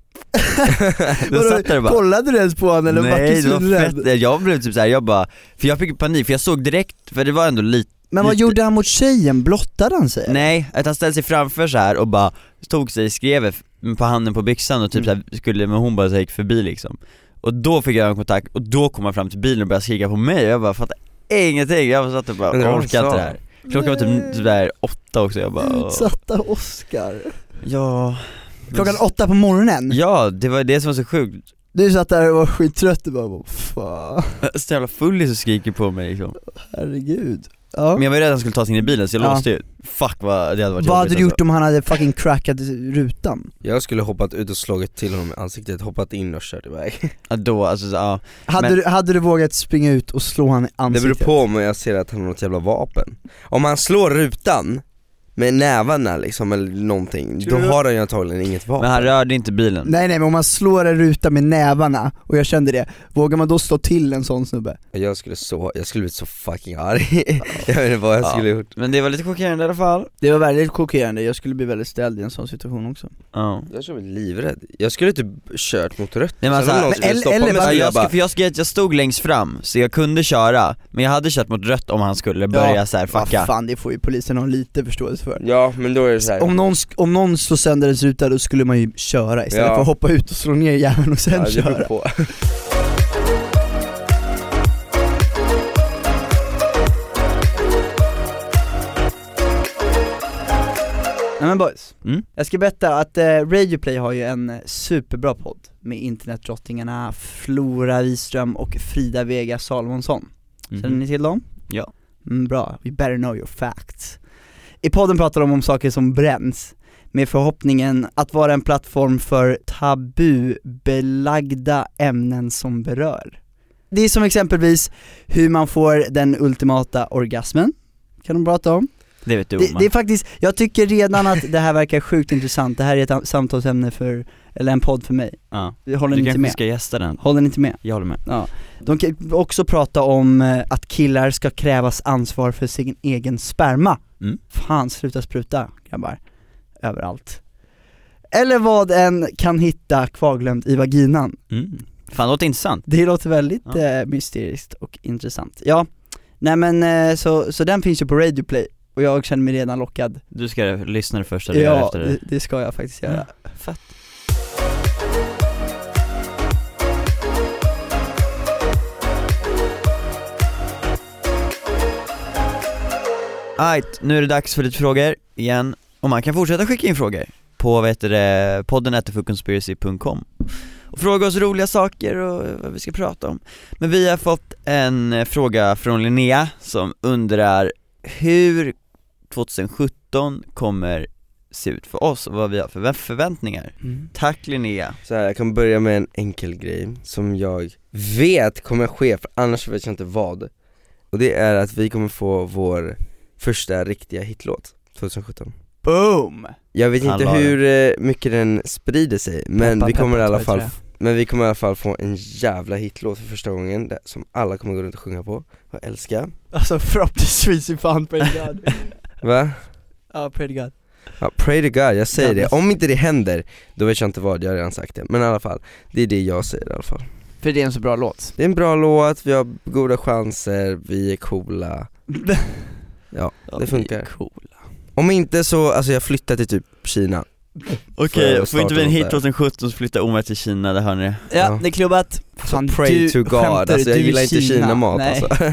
[SPEAKER 6] Då satt jag där och bara
[SPEAKER 4] Kollade du ens på honom eller
[SPEAKER 6] Nej det
[SPEAKER 4] var du
[SPEAKER 6] var
[SPEAKER 4] rädd?
[SPEAKER 6] fett, jag blev typ såhär, jag bara, för jag fick panik för jag såg direkt, för det var ändå lite
[SPEAKER 4] Men vad
[SPEAKER 6] lite-
[SPEAKER 4] gjorde han mot tjejen? Blottade han sig?
[SPEAKER 6] Nej, att han ställde sig framför så här och bara tog sig, skrev på handen på byxan och typ
[SPEAKER 4] Mm.
[SPEAKER 6] så här skulle, men hon bara så här gick förbi liksom Och då fick jag en kontakt och då kom han fram till bilen och började skrika på mig och jag bara fattar ingenting, jag bara satt och bara
[SPEAKER 5] Men det var
[SPEAKER 6] orkar inte
[SPEAKER 5] så.
[SPEAKER 6] det här Klockan var typ sådär åtta också, jag bara åh.
[SPEAKER 4] Utsatta Oscar.
[SPEAKER 6] Ja
[SPEAKER 4] Klockan åtta på morgonen?
[SPEAKER 6] Ja, det var det som var så sjukt, Äh,
[SPEAKER 4] Du satt där och var skittrött och bara "Vad fan,
[SPEAKER 6] så jävla fullis och skriker på mig liksom
[SPEAKER 4] herregud. Ja.
[SPEAKER 6] Men jag var ju rädd att han skulle ta sig in i bilen så jag
[SPEAKER 4] Ja.
[SPEAKER 6] låste ju, fuck vad det hade varit
[SPEAKER 4] Vad hade
[SPEAKER 6] jobbigt alltså.
[SPEAKER 4] du gjort om han hade fucking crackat rutan?
[SPEAKER 5] Jag skulle hoppat ut och slagit till honom i ansiktet, hoppat in och kört iväg
[SPEAKER 6] alltså. Ja, Då, alltså så, ja,
[SPEAKER 4] Hade,
[SPEAKER 6] Men-
[SPEAKER 4] du, hade du vågat springa ut och slå han i
[SPEAKER 5] Det beror
[SPEAKER 4] ansiktet?
[SPEAKER 5] på om jag ser att han har något jävla vapen Om han slår rutan med nävarna liksom eller någonting, då har han ju antagligen inget vapen
[SPEAKER 6] men han rörde inte bilen
[SPEAKER 4] Nej nej men om man slår en ruta med nävarna, och jag kände det, vågar man då slå till en sån snubbe?
[SPEAKER 5] Jag skulle så, jag skulle bli så fucking arg Jag vet inte vad jag
[SPEAKER 6] Ja.
[SPEAKER 5] skulle gjort
[SPEAKER 6] Men det var lite chockerande i alla fall
[SPEAKER 4] Det var väldigt chockerande, jag skulle bli väldigt ställd i en sån situation också
[SPEAKER 6] Ja
[SPEAKER 5] Jag skulle bli livrädd, jag skulle typ kört mot rött
[SPEAKER 6] Nej, men
[SPEAKER 5] Sen
[SPEAKER 6] alltså-
[SPEAKER 5] om någon
[SPEAKER 6] men
[SPEAKER 5] skulle
[SPEAKER 4] eller-
[SPEAKER 5] stoppa
[SPEAKER 4] eller
[SPEAKER 5] mig
[SPEAKER 6] Ja,
[SPEAKER 5] skulle
[SPEAKER 6] jag,
[SPEAKER 5] jag
[SPEAKER 6] ska,
[SPEAKER 5] bara
[SPEAKER 6] för jag, ska, jag stod längst fram, så jag kunde köra, men jag hade kört mot rött om han skulle börja så här
[SPEAKER 4] Vad
[SPEAKER 6] fucka
[SPEAKER 4] fan, det får ju polisen ha lite förståelse för
[SPEAKER 5] Ja men då är det så här.
[SPEAKER 4] om någon, sk- om någon slår sönder en ruta då skulle man ju köra istället
[SPEAKER 5] Ja.
[SPEAKER 4] för att hoppa ut och slå ner jäveln och sen
[SPEAKER 5] ja, det beror
[SPEAKER 4] köra
[SPEAKER 5] på.
[SPEAKER 4] Nej men boys,
[SPEAKER 6] Mm.
[SPEAKER 4] jag ska berätta att eh, Radioplay har ju en eh, superbra podd med internetdrottningarna Flora Wiström och Frida Vega Salomonsson.
[SPEAKER 6] Mm.
[SPEAKER 4] Känner ni till dem?
[SPEAKER 6] Ja.
[SPEAKER 4] Mm, bra, we better know your facts. I podden pratar de om saker som bränns, med förhoppningen att vara en plattform för tabubelagda ämnen som berör. Det är som exempelvis hur man får den ultimata orgasmen, kan de prata om.
[SPEAKER 6] Det vet du
[SPEAKER 4] Det,
[SPEAKER 6] Omar
[SPEAKER 4] det är faktiskt, jag tycker redan att det här verkar sjukt intressant, det här är ett am- samtalsämne för, eller en podd för mig.
[SPEAKER 6] ja.
[SPEAKER 4] Håller
[SPEAKER 6] Du
[SPEAKER 4] ni inte
[SPEAKER 6] kanske
[SPEAKER 4] med?
[SPEAKER 6] ska gästa den,
[SPEAKER 4] Håller ni inte med?
[SPEAKER 6] jag håller med
[SPEAKER 4] De kan också prata om eh, att killar ska krävas ansvar för sin egen sperma.
[SPEAKER 6] Mm.
[SPEAKER 4] Fan, sluta spruta grabbar. Överallt. Eller vad en kan hitta kvarglömt i vaginan.
[SPEAKER 6] mm. Fan det låter intressant
[SPEAKER 4] Det låter väldigt
[SPEAKER 6] Ja.
[SPEAKER 4] eh, mysteriskt och intressant. Ja, nej men eh, så, så den finns ju på Radioplay och jag känner mig redan lockad.
[SPEAKER 6] Du ska lyssna det första du gör
[SPEAKER 4] Ja,
[SPEAKER 6] efter
[SPEAKER 4] det, Mm.
[SPEAKER 6] det
[SPEAKER 4] det ska jag faktiskt göra.
[SPEAKER 6] Fett Ajt, nu är det dags för lite frågor igen Och man kan fortsätta skicka in frågor på vad heter det, podden fullconspiracy.com och fråga oss roliga saker och vad vi ska prata om. Men vi har fått en eh, fråga från Linnea som undrar hur 2017 kommer se ut för oss och vad vi har för vä- förväntningar.
[SPEAKER 4] Mm.
[SPEAKER 6] Tack Linnea!
[SPEAKER 5] Så här, jag kan börja med en enkel grej som jag vet kommer ske, för annars vet jag inte vad Och det är att vi kommer få vår första riktiga hitlåt 2017
[SPEAKER 4] Boom!
[SPEAKER 5] Jag vet
[SPEAKER 6] Fan,
[SPEAKER 5] inte
[SPEAKER 6] vad
[SPEAKER 5] hur eh, mycket den sprider sig, men
[SPEAKER 4] Peppa,
[SPEAKER 5] vi kommer i
[SPEAKER 4] peppa,
[SPEAKER 5] alla
[SPEAKER 4] två i
[SPEAKER 5] fall
[SPEAKER 4] trä.
[SPEAKER 5] men vi kommer i alla fall få en jävla hitlåt för första gången, där- som alla kommer gå runt och sjunga på och älska
[SPEAKER 4] Alltså förhoppningsvis i fan, pray to God.
[SPEAKER 5] Va?
[SPEAKER 4] Ja, pray to God.
[SPEAKER 5] Ja, pray to God, jag säger det.
[SPEAKER 4] Jävla-
[SPEAKER 5] Om inte det händer, då vet jag inte vad, jag har redan sagt det Men i alla fall, det är det jag säger i alla fall
[SPEAKER 4] För det är en så bra låt.
[SPEAKER 5] Det är en bra låt, vi har goda chanser, vi är coola Ja, det funkar
[SPEAKER 4] Coola.
[SPEAKER 5] Om inte så, alltså jag flyttar till typ Kina
[SPEAKER 6] Okej,
[SPEAKER 5] Får jag
[SPEAKER 6] får inte vi en
[SPEAKER 5] starta
[SPEAKER 6] hit
[SPEAKER 5] något där?
[SPEAKER 6] 2017 så flyttar Omar till Kina, det hör ni.
[SPEAKER 4] Ja,
[SPEAKER 5] Ja.
[SPEAKER 4] det är klubbat. Fan,
[SPEAKER 5] Pray to God,
[SPEAKER 4] skämtar du?
[SPEAKER 5] alltså jag
[SPEAKER 4] Du är
[SPEAKER 5] gillar inte Kina-mat
[SPEAKER 4] Nej,
[SPEAKER 5] alltså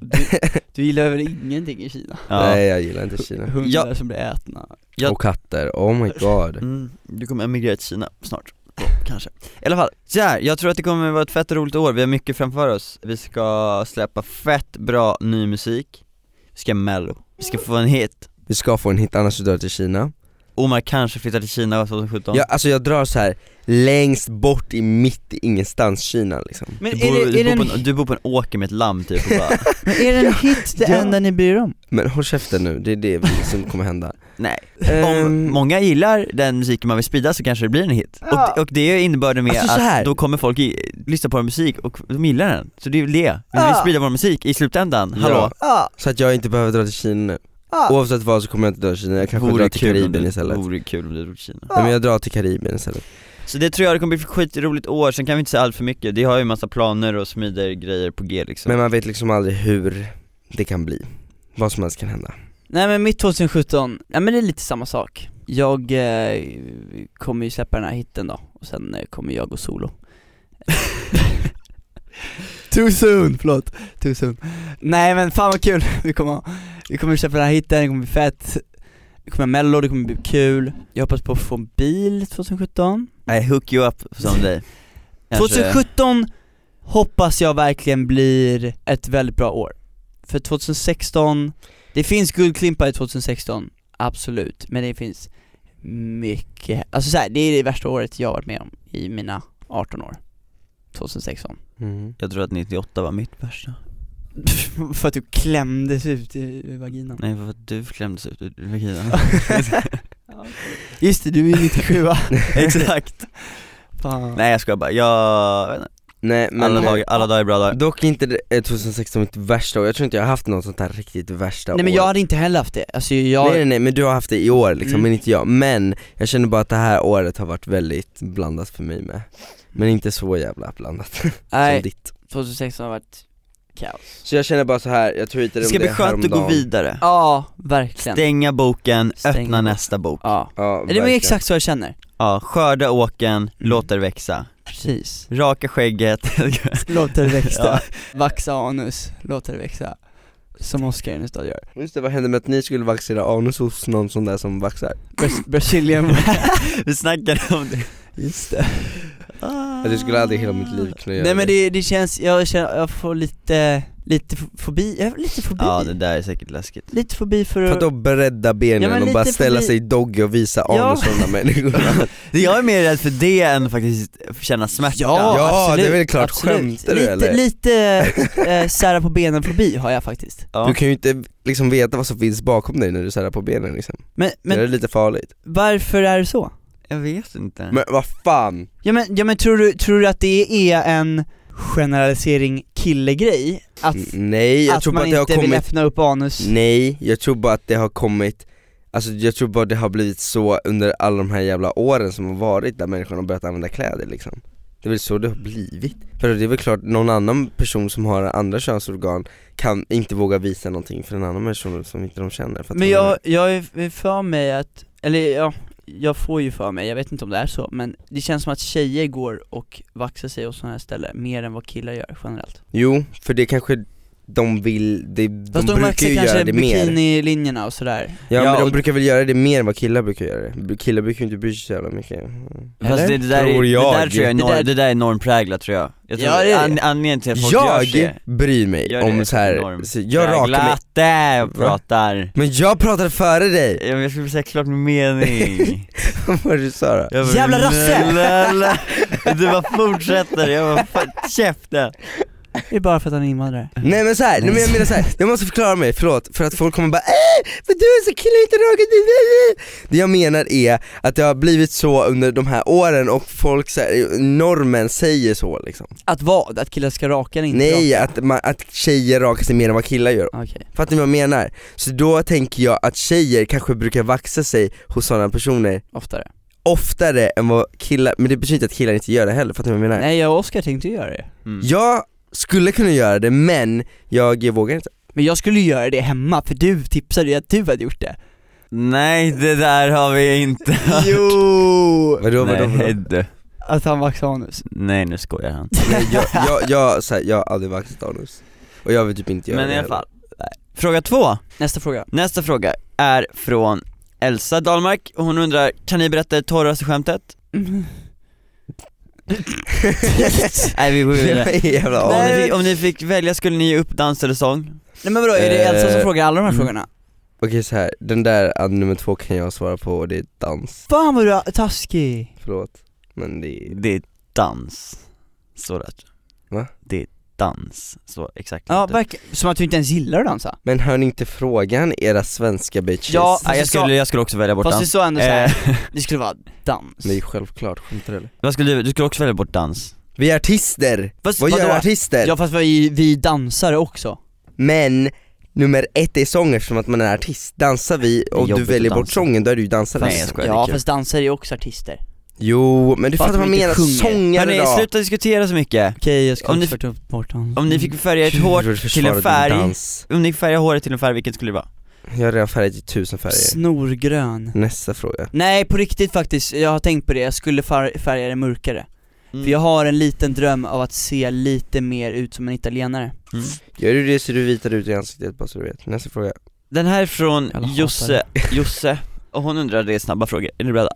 [SPEAKER 4] Du gillar väl ingenting i Kina?
[SPEAKER 6] Ja.
[SPEAKER 5] Nej jag gillar inte Kina
[SPEAKER 4] Hundar som blir ätna.
[SPEAKER 6] Jag-
[SPEAKER 5] Och katter, oh my god
[SPEAKER 6] Mm, du kommer emigrera till Kina snart, Då, kanske. I alla fall, så här, jag tror att det kommer vara ett fett roligt år, vi har mycket framför oss. Vi ska släppa fett bra ny musik, vi ska mello, vi ska få en hit.
[SPEAKER 5] Vi ska få en hit annars så drar jag till Kina
[SPEAKER 6] Omar kanske flyttar till Kina 2017.
[SPEAKER 5] jag, Alltså jag drar så här längst bort i mitt i ingenstans Kina liksom
[SPEAKER 4] Men
[SPEAKER 6] Du
[SPEAKER 4] är
[SPEAKER 6] bor,
[SPEAKER 4] det,
[SPEAKER 6] du,
[SPEAKER 4] är det,
[SPEAKER 6] bor
[SPEAKER 4] en,
[SPEAKER 6] på en, du bor på en åker med ett lamm typ och bara,
[SPEAKER 4] men är det en hit det
[SPEAKER 5] Ja.
[SPEAKER 4] enda ni bryr er om?
[SPEAKER 5] Men håll käften nu, det är det vi- som kommer hända
[SPEAKER 6] nej. Om
[SPEAKER 5] Ehm,
[SPEAKER 6] många gillar den musiken man vill sprida så kanske det blir en hit.
[SPEAKER 4] Ja.
[SPEAKER 6] Och, och det innebär med
[SPEAKER 5] Alltså, så
[SPEAKER 6] att
[SPEAKER 5] här.
[SPEAKER 6] då kommer folk i, lyssna på vår musik och de gillar den. Så det är ju det, vi vill
[SPEAKER 4] Ja.
[SPEAKER 6] sprida vår musik i slutändan, hallå?
[SPEAKER 5] Ja.
[SPEAKER 4] Ja,
[SPEAKER 5] Så att jag inte behöver dra till Kina nu
[SPEAKER 4] ja.
[SPEAKER 5] Oavsett vad så kommer jag inte dra till Kina, jag kanske drar till
[SPEAKER 6] om
[SPEAKER 5] Karibien
[SPEAKER 6] du-
[SPEAKER 5] istället
[SPEAKER 4] Ah.
[SPEAKER 6] Vore kul om du drog till Kina
[SPEAKER 5] Nej men jag drar till Karibien istället
[SPEAKER 6] Så det tror jag det kommer bli ett skitroligt år, sen kan vi inte säga allt för mycket, det har ju massa planer och smider grejer på G liksom
[SPEAKER 5] Men man vet liksom aldrig hur det kan bli. Vad som helst kan hända.
[SPEAKER 4] Nej men mitt 2017, ja men det är lite samma sak. Jag eh, kommer ju släppa den här hitten då, och sen eh, kommer jag gå solo. Too soon, förlåt. Too soon. Nej men fan vad kul vi kommer ha. Vi kommer släppa den här hitten, det kommer bli fett. Det kommer vara mello, det kommer bli kul. Jag hoppas på att få en bil 2017.
[SPEAKER 6] Nej, hook you up someday Kanske-
[SPEAKER 4] 2017 hoppas jag verkligen blir ett väldigt bra år. För 2016, det finns guldklimpar i 2016, absolut, men det finns mycket, alltså så här, det är det värsta året jag har varit med om i mina 18 år. 2016. Mm.
[SPEAKER 6] Jag tror att 98 var mitt värsta
[SPEAKER 4] för att du klämdes ut i vaginan.
[SPEAKER 6] Nej för att du klämdes ut ur vaginan
[SPEAKER 4] Just det, du är 97
[SPEAKER 6] Exakt!
[SPEAKER 4] Fan.
[SPEAKER 6] Nej jag skojar bara, jag vet inte.
[SPEAKER 5] Nej men eh,
[SPEAKER 6] alla, dagar, alla dagar är bra dagar
[SPEAKER 5] Dock inte det- eh, 2016 mitt värsta år, jag tror inte jag har haft något sånt här riktigt värsta
[SPEAKER 4] Nej men
[SPEAKER 5] år.
[SPEAKER 4] jag hade inte heller haft det, alltså jag,
[SPEAKER 5] Nej, nej nej men du har haft det i år liksom,
[SPEAKER 4] Mm.
[SPEAKER 5] men inte jag. Men jag känner bara att det här året har varit väldigt blandat för mig med. Men inte så jävla blandat som
[SPEAKER 4] nej
[SPEAKER 5] ditt.
[SPEAKER 4] 2016 har varit kaos.
[SPEAKER 5] Så jag känner bara så här. jag tweetade
[SPEAKER 6] Det ska
[SPEAKER 5] om
[SPEAKER 6] bli
[SPEAKER 5] det
[SPEAKER 6] skönt att gå
[SPEAKER 5] häromdagen.
[SPEAKER 6] vidare
[SPEAKER 4] Ja, verkligen.
[SPEAKER 6] Stänga boken,
[SPEAKER 4] Stänga
[SPEAKER 6] öppna
[SPEAKER 4] boken.
[SPEAKER 6] nästa bok
[SPEAKER 4] Ja.
[SPEAKER 5] Ja,
[SPEAKER 4] Det är
[SPEAKER 5] verkligen.
[SPEAKER 4] exakt så jag känner.
[SPEAKER 6] Ja, skörda
[SPEAKER 5] Mm.
[SPEAKER 6] åken, låt det växa
[SPEAKER 4] Precis.
[SPEAKER 6] Raka skägget
[SPEAKER 4] Låt det
[SPEAKER 6] Ja.
[SPEAKER 4] växa. Vaxa anus, låt det växa. Som Oscar Enestad gör.
[SPEAKER 5] Just det, vad hände med att ni skulle vaccinera anus hos någon sån där som vaxar?
[SPEAKER 4] Bras- Brazilian
[SPEAKER 6] Vi snackade om det
[SPEAKER 4] Just det.
[SPEAKER 5] Att du Alltså, skulle aldrig i hela mitt liv kunna göra
[SPEAKER 4] Nej men det, det känns, jag känner, jag får lite, lite f- fobi, jag har lite fobi.
[SPEAKER 6] Ja det där är säkert läskigt
[SPEAKER 4] Lite fobi för,
[SPEAKER 5] För att då bredda benen
[SPEAKER 4] Ja, men
[SPEAKER 5] och bara
[SPEAKER 4] lite
[SPEAKER 5] ställa
[SPEAKER 4] förbi-
[SPEAKER 5] sig i dogge och visa
[SPEAKER 4] Ja.
[SPEAKER 5] anus för de där människorna
[SPEAKER 6] Det- Jag är mer rädd för det än faktiskt känna smärta
[SPEAKER 4] Ja,
[SPEAKER 5] Ja,
[SPEAKER 4] absolut,
[SPEAKER 5] det är väl klart.
[SPEAKER 4] absolut.
[SPEAKER 5] Skämtar du,
[SPEAKER 4] lite,
[SPEAKER 5] eller?
[SPEAKER 4] Lite eh, sära på benen-fobi har jag faktiskt.
[SPEAKER 6] Ja.
[SPEAKER 5] Du kan ju inte liksom veta vad som finns bakom dig när du säljer på benen liksom
[SPEAKER 4] Men,
[SPEAKER 5] Det är
[SPEAKER 4] men
[SPEAKER 5] lite farligt
[SPEAKER 4] varför är det så?
[SPEAKER 6] Jag vet inte
[SPEAKER 5] Men vad fan?
[SPEAKER 4] Ja men, ja, men tror, du, tror du att det är en generalisering killegrej? Att,
[SPEAKER 5] N- Nej, Mm, jag
[SPEAKER 4] att
[SPEAKER 5] tror
[SPEAKER 4] man
[SPEAKER 5] bara att det
[SPEAKER 4] inte
[SPEAKER 5] har
[SPEAKER 4] vill
[SPEAKER 5] kommit Mm.
[SPEAKER 4] öppna upp anus?
[SPEAKER 5] Nej, jag tror bara att det har kommit Alltså jag tror bara det har blivit så under alla de här jävla åren som har varit där människorna har börjat använda kläder liksom Det är väl så det har blivit För det är väl klart, någon annan person som har andra könsorgan kan inte våga visa någonting för en annan person som inte de känner för att
[SPEAKER 4] Men
[SPEAKER 5] de-
[SPEAKER 4] jag, jag är för mig att, eller ja, jag får ju för mig, jag vet inte om det är så, men det känns som att tjejer går och vaxar sig och sådana här ställen mer än vad killar gör generellt.
[SPEAKER 5] Jo, för det kanske de vill, det, de,
[SPEAKER 4] Fast de,
[SPEAKER 5] brukar
[SPEAKER 4] vaxar
[SPEAKER 5] ju göra
[SPEAKER 4] kanske
[SPEAKER 5] det mer
[SPEAKER 4] bikinilinjerna och sådär.
[SPEAKER 5] Ja,
[SPEAKER 6] Ja,
[SPEAKER 5] men de
[SPEAKER 6] och-
[SPEAKER 5] brukar väl göra det mer än vad killar brukar göra det, killar brukar ju inte bry sig så jävla mycket
[SPEAKER 6] Fast det, det där
[SPEAKER 5] Tror
[SPEAKER 6] är,
[SPEAKER 5] jag.
[SPEAKER 6] Det där tror jag är,
[SPEAKER 4] Det
[SPEAKER 6] norm, det
[SPEAKER 4] där-
[SPEAKER 6] där, är normpräglat tror jag, jag tror,
[SPEAKER 4] Ja, det är det.
[SPEAKER 6] an, Anledningen till att folk
[SPEAKER 5] Jag
[SPEAKER 6] gör det
[SPEAKER 5] bryr mig
[SPEAKER 6] Gör det
[SPEAKER 5] om
[SPEAKER 6] efter
[SPEAKER 5] så här,
[SPEAKER 6] norm.
[SPEAKER 5] så jag rakar mig
[SPEAKER 6] Präglat, där jag
[SPEAKER 5] Va?
[SPEAKER 6] pratar
[SPEAKER 5] Men jag pratade före dig!
[SPEAKER 6] Jag skulle säga klart min mening
[SPEAKER 5] Vad var det du sa då?
[SPEAKER 6] jag bara,
[SPEAKER 4] Jävla rasse!
[SPEAKER 6] la, la, la. Du bara fortsätter, jag bara fan, käften
[SPEAKER 4] Det är bara för att han är invandrare.
[SPEAKER 5] Nej men såhär, nej men jag menar såhär, jag måste förklara mig, förlåt, för att folk kommer bara äh, men du är så killar inte raka din Det jag menar är att det har blivit så under de här åren och folk så här, normen säger så liksom
[SPEAKER 4] Att vad? Att killar ska raka eller inte
[SPEAKER 5] Nej,
[SPEAKER 4] raka?
[SPEAKER 5] att, man, att tjejer rakar sig mer än vad killar gör
[SPEAKER 4] Okej.
[SPEAKER 5] Fattar ni vad jag menar? Så då tänker jag att tjejer kanske brukar vaxa sig hos sådana personer
[SPEAKER 4] Oftare.
[SPEAKER 5] oftare än vad killar, men det betyder inte att killar inte gör det heller, fattar ni vad jag menar?
[SPEAKER 4] Nej jag och Oscar tänkte ju göra det.
[SPEAKER 6] Mm.
[SPEAKER 5] Jag skulle kunna göra det men jag vågar inte
[SPEAKER 4] Men jag skulle ju göra det hemma för du tipsade ju att du hade gjort det.
[SPEAKER 6] Nej det där har vi inte hört.
[SPEAKER 4] Jo!
[SPEAKER 5] Vadå vadå vadå?
[SPEAKER 6] Nej,
[SPEAKER 5] Nej,
[SPEAKER 6] du.
[SPEAKER 4] Att han vaxade anus.
[SPEAKER 6] Nej nu skojar han
[SPEAKER 5] jag, jag, jag, så här, jag har aldrig vaxat anus Och jag vill typ inte göra
[SPEAKER 6] Men
[SPEAKER 5] det
[SPEAKER 6] i alla
[SPEAKER 5] heller.
[SPEAKER 6] fall, nej. fråga två
[SPEAKER 4] Nästa fråga.
[SPEAKER 6] Nästa fråga är från Elsa Dahlmark och hon undrar, kan ni berätta det torraste skämtet?
[SPEAKER 4] Mm.
[SPEAKER 6] Nej vi går vidare
[SPEAKER 5] Jag är jävla
[SPEAKER 6] om,
[SPEAKER 5] aning.
[SPEAKER 6] ni fick, om ni fick välja skulle ni ge upp dans eller sång?
[SPEAKER 4] Nej men vadå, är det Elsa som
[SPEAKER 5] Eh,
[SPEAKER 4] frågar alla de här
[SPEAKER 5] mm.
[SPEAKER 4] frågorna?
[SPEAKER 5] Okej så här. den där ah, nummer två kan jag svara på och det är dans,
[SPEAKER 4] Fan vad du är taskig!
[SPEAKER 5] förlåt Men det är,
[SPEAKER 6] Det är dans, står det
[SPEAKER 5] Va?
[SPEAKER 6] Det är dans, så exakt
[SPEAKER 4] Ja verkligen, som att du inte ens gillar att dansa
[SPEAKER 5] men hör ni inte frågan era svenska bitches?
[SPEAKER 4] Ja,
[SPEAKER 6] Nej, jag, skulle, jag skulle också välja bort
[SPEAKER 4] Fast det
[SPEAKER 6] dans
[SPEAKER 4] står ändå
[SPEAKER 6] eh,
[SPEAKER 4] såhär, det skulle vara dans
[SPEAKER 5] Nej självklart, skämtar du eller?
[SPEAKER 6] vad skulle du, du skulle också välja bort dans
[SPEAKER 5] Vi är artister!
[SPEAKER 4] Fast
[SPEAKER 5] Vad gör
[SPEAKER 4] vadå?
[SPEAKER 5] artister?
[SPEAKER 4] Ja fast vi, vi dansare också
[SPEAKER 5] Men nummer ett är sång eftersom att man är artist. Dansar vi och du
[SPEAKER 6] jobbigt
[SPEAKER 5] väljer
[SPEAKER 6] att
[SPEAKER 5] bort
[SPEAKER 6] dansa.
[SPEAKER 5] sången då är du ju dansare.
[SPEAKER 6] Nej, jag skojar. Ja, det är
[SPEAKER 4] Ja
[SPEAKER 6] kul.
[SPEAKER 4] fast dansare är också artister
[SPEAKER 5] Jo, men du
[SPEAKER 7] Fast
[SPEAKER 5] fattar vad
[SPEAKER 7] man
[SPEAKER 5] jag
[SPEAKER 7] inte
[SPEAKER 5] menar,
[SPEAKER 7] sjunger.
[SPEAKER 5] sångare
[SPEAKER 6] Hörni,
[SPEAKER 5] då!
[SPEAKER 6] sluta diskutera så mycket.
[SPEAKER 4] Okej jag ska
[SPEAKER 6] Om ni-
[SPEAKER 4] inte ta upp bort honom
[SPEAKER 6] Om ni fick färga ert hår
[SPEAKER 5] Jag vill
[SPEAKER 6] till
[SPEAKER 5] försvara
[SPEAKER 6] en
[SPEAKER 5] din
[SPEAKER 6] färg,
[SPEAKER 5] dans.
[SPEAKER 6] om ni fick färga håret till en färg, vilken skulle det vara?
[SPEAKER 5] Jag har redan färgat i tusen färger.
[SPEAKER 4] Snorgrön
[SPEAKER 5] Nästa fråga.
[SPEAKER 4] Nej på riktigt faktiskt, jag har tänkt på det, jag skulle far- färga det mörkare
[SPEAKER 6] Mm.
[SPEAKER 4] För jag har en liten dröm av att se lite mer ut som en italienare
[SPEAKER 6] Mm.
[SPEAKER 5] Gör du det så du vitar ut i ansiktet bara så du vet. Nästa fråga.
[SPEAKER 6] Den här är från
[SPEAKER 4] Jävla hatare.
[SPEAKER 6] Josse, Josse, och hon undrar, det är snabba frågor, är ni beredda?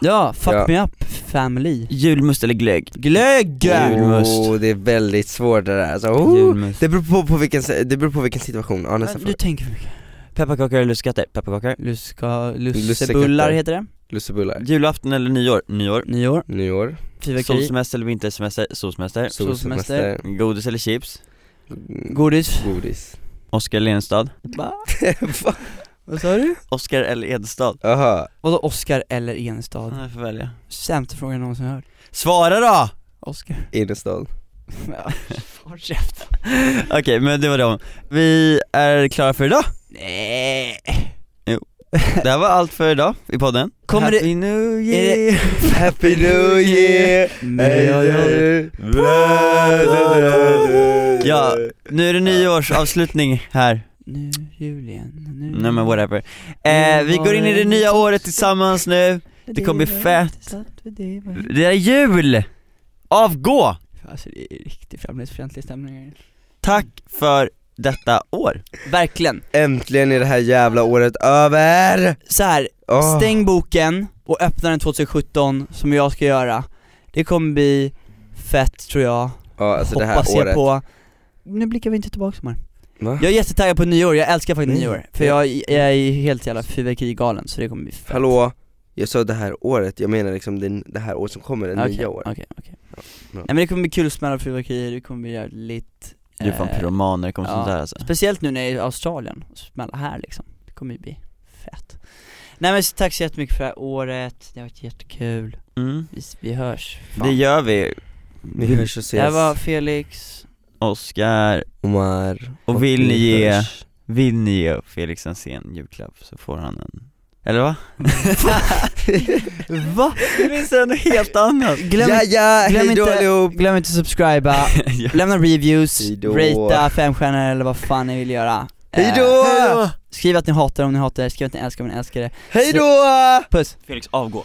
[SPEAKER 4] Ja, fuck
[SPEAKER 5] Ja.
[SPEAKER 4] me up family
[SPEAKER 6] Julmust eller glögg?
[SPEAKER 4] Glögg!
[SPEAKER 6] Julmust.
[SPEAKER 5] Oh, det är väldigt svårt det där alltså. oh.
[SPEAKER 6] Julmust
[SPEAKER 5] Det beror på, på vilken, se- det beror på vilken situation, ja nästa
[SPEAKER 4] Men Du
[SPEAKER 5] fråga.
[SPEAKER 4] tänker för mycket
[SPEAKER 6] Pepparkakor eller lussekatter? Pepparkakor
[SPEAKER 4] Luska, lussebullar
[SPEAKER 5] Lussekatter.
[SPEAKER 4] heter det,
[SPEAKER 5] Lussebullar.
[SPEAKER 6] Julafton eller nyår? Nyår
[SPEAKER 4] nyår,
[SPEAKER 5] Nyår.
[SPEAKER 4] fyrverkeri,
[SPEAKER 6] Solsemester eller vintersemester? Solsemester
[SPEAKER 5] Solsemester.
[SPEAKER 6] Godis eller chips?
[SPEAKER 5] Mm,
[SPEAKER 4] godis
[SPEAKER 5] Godis.
[SPEAKER 6] Oskar eller Edenstad?
[SPEAKER 4] Va? Vad sa du?
[SPEAKER 6] Oskar eller Edenstad?
[SPEAKER 5] Jaha.
[SPEAKER 4] Vadå Oscar eller Enestad?
[SPEAKER 6] Jag får välja
[SPEAKER 4] Sämsta frågan jag någonsin hört
[SPEAKER 6] Svara då!
[SPEAKER 4] Oscar
[SPEAKER 5] Innerstad.
[SPEAKER 4] Håll käften
[SPEAKER 6] Okej, men det var dem Vi är klara för idag
[SPEAKER 4] Nej.
[SPEAKER 6] Det här var allt för idag i podden
[SPEAKER 4] Kommer det-
[SPEAKER 6] Happy New
[SPEAKER 4] Är
[SPEAKER 6] Year!
[SPEAKER 4] det...
[SPEAKER 5] Happy New Year!
[SPEAKER 6] Ja, nu är det nyårsavslutning här
[SPEAKER 4] Nu julen, nu
[SPEAKER 6] Nej men whatever eh, Vi går in i det nya året tillsammans nu det kommer bli fett. Det är jul! Avgå!
[SPEAKER 4] Alltså det är riktigt främlingsfientlig stämning
[SPEAKER 6] Tack för detta år
[SPEAKER 4] Verkligen.
[SPEAKER 5] Äntligen är det här jävla året över!
[SPEAKER 4] Så här,
[SPEAKER 5] Åh.
[SPEAKER 4] stäng boken och öppna den 2017 som jag ska göra. Det kommer bli fett tror jag.
[SPEAKER 5] Ja, alltså det här
[SPEAKER 4] Hoppas
[SPEAKER 5] året.
[SPEAKER 4] jag på. Nu blickar vi inte tillbaka så mycket.
[SPEAKER 5] Va?
[SPEAKER 4] Jag är jättetaggad på nyår, jag älskar faktiskt
[SPEAKER 5] Mm.
[SPEAKER 4] nyår. För jag, jag är helt jävla fyrverkerigalen så det kommer bli fett.
[SPEAKER 5] Hallå? Jag sa det här året, jag menar liksom det, det här året som kommer, det
[SPEAKER 4] Okej,
[SPEAKER 5] nya året.
[SPEAKER 4] Okej, okej.
[SPEAKER 5] bra.
[SPEAKER 4] Nej men det kommer bli kul att smälla fyrverkerier, det kommer bli jävligt
[SPEAKER 6] Du är fan
[SPEAKER 4] eh,
[SPEAKER 6] pyroman när det kommer
[SPEAKER 4] ja.
[SPEAKER 6] till sånt där alltså
[SPEAKER 4] Speciellt nu när jag är i Australien, och smälla här liksom. Det kommer ju bli fett. Nej men så tack så jättemycket för det här året, det har varit jättekul.
[SPEAKER 6] mm.
[SPEAKER 4] Vi, vi hörs. Fan.
[SPEAKER 6] Det gör vi,
[SPEAKER 5] Vi hörs och
[SPEAKER 4] Mm. det här
[SPEAKER 5] ses,
[SPEAKER 4] var Felix,
[SPEAKER 6] Oskar
[SPEAKER 5] Omar
[SPEAKER 6] Och vill ni
[SPEAKER 5] vi
[SPEAKER 6] ge-
[SPEAKER 5] hörs.
[SPEAKER 6] Vill ni ge Felix en sen julklapp så får han en Eller va?
[SPEAKER 4] Va?
[SPEAKER 6] Det finns en helt annan
[SPEAKER 4] Glöm,
[SPEAKER 5] ja, ja,
[SPEAKER 4] glöm
[SPEAKER 5] hejdå
[SPEAKER 4] inte-
[SPEAKER 5] allihop!
[SPEAKER 4] glöm inte att subscriba, lämna reviews,
[SPEAKER 5] Hejdå.
[SPEAKER 4] ratea fem stjärnor eller vad fan ni vill göra. Eh,
[SPEAKER 5] Hejdå!
[SPEAKER 4] Skriv att ni hatar om ni hatar det, skriv att ni älskar om ni älskar det.
[SPEAKER 5] Hejdå!
[SPEAKER 4] Puss!
[SPEAKER 6] Felix avgå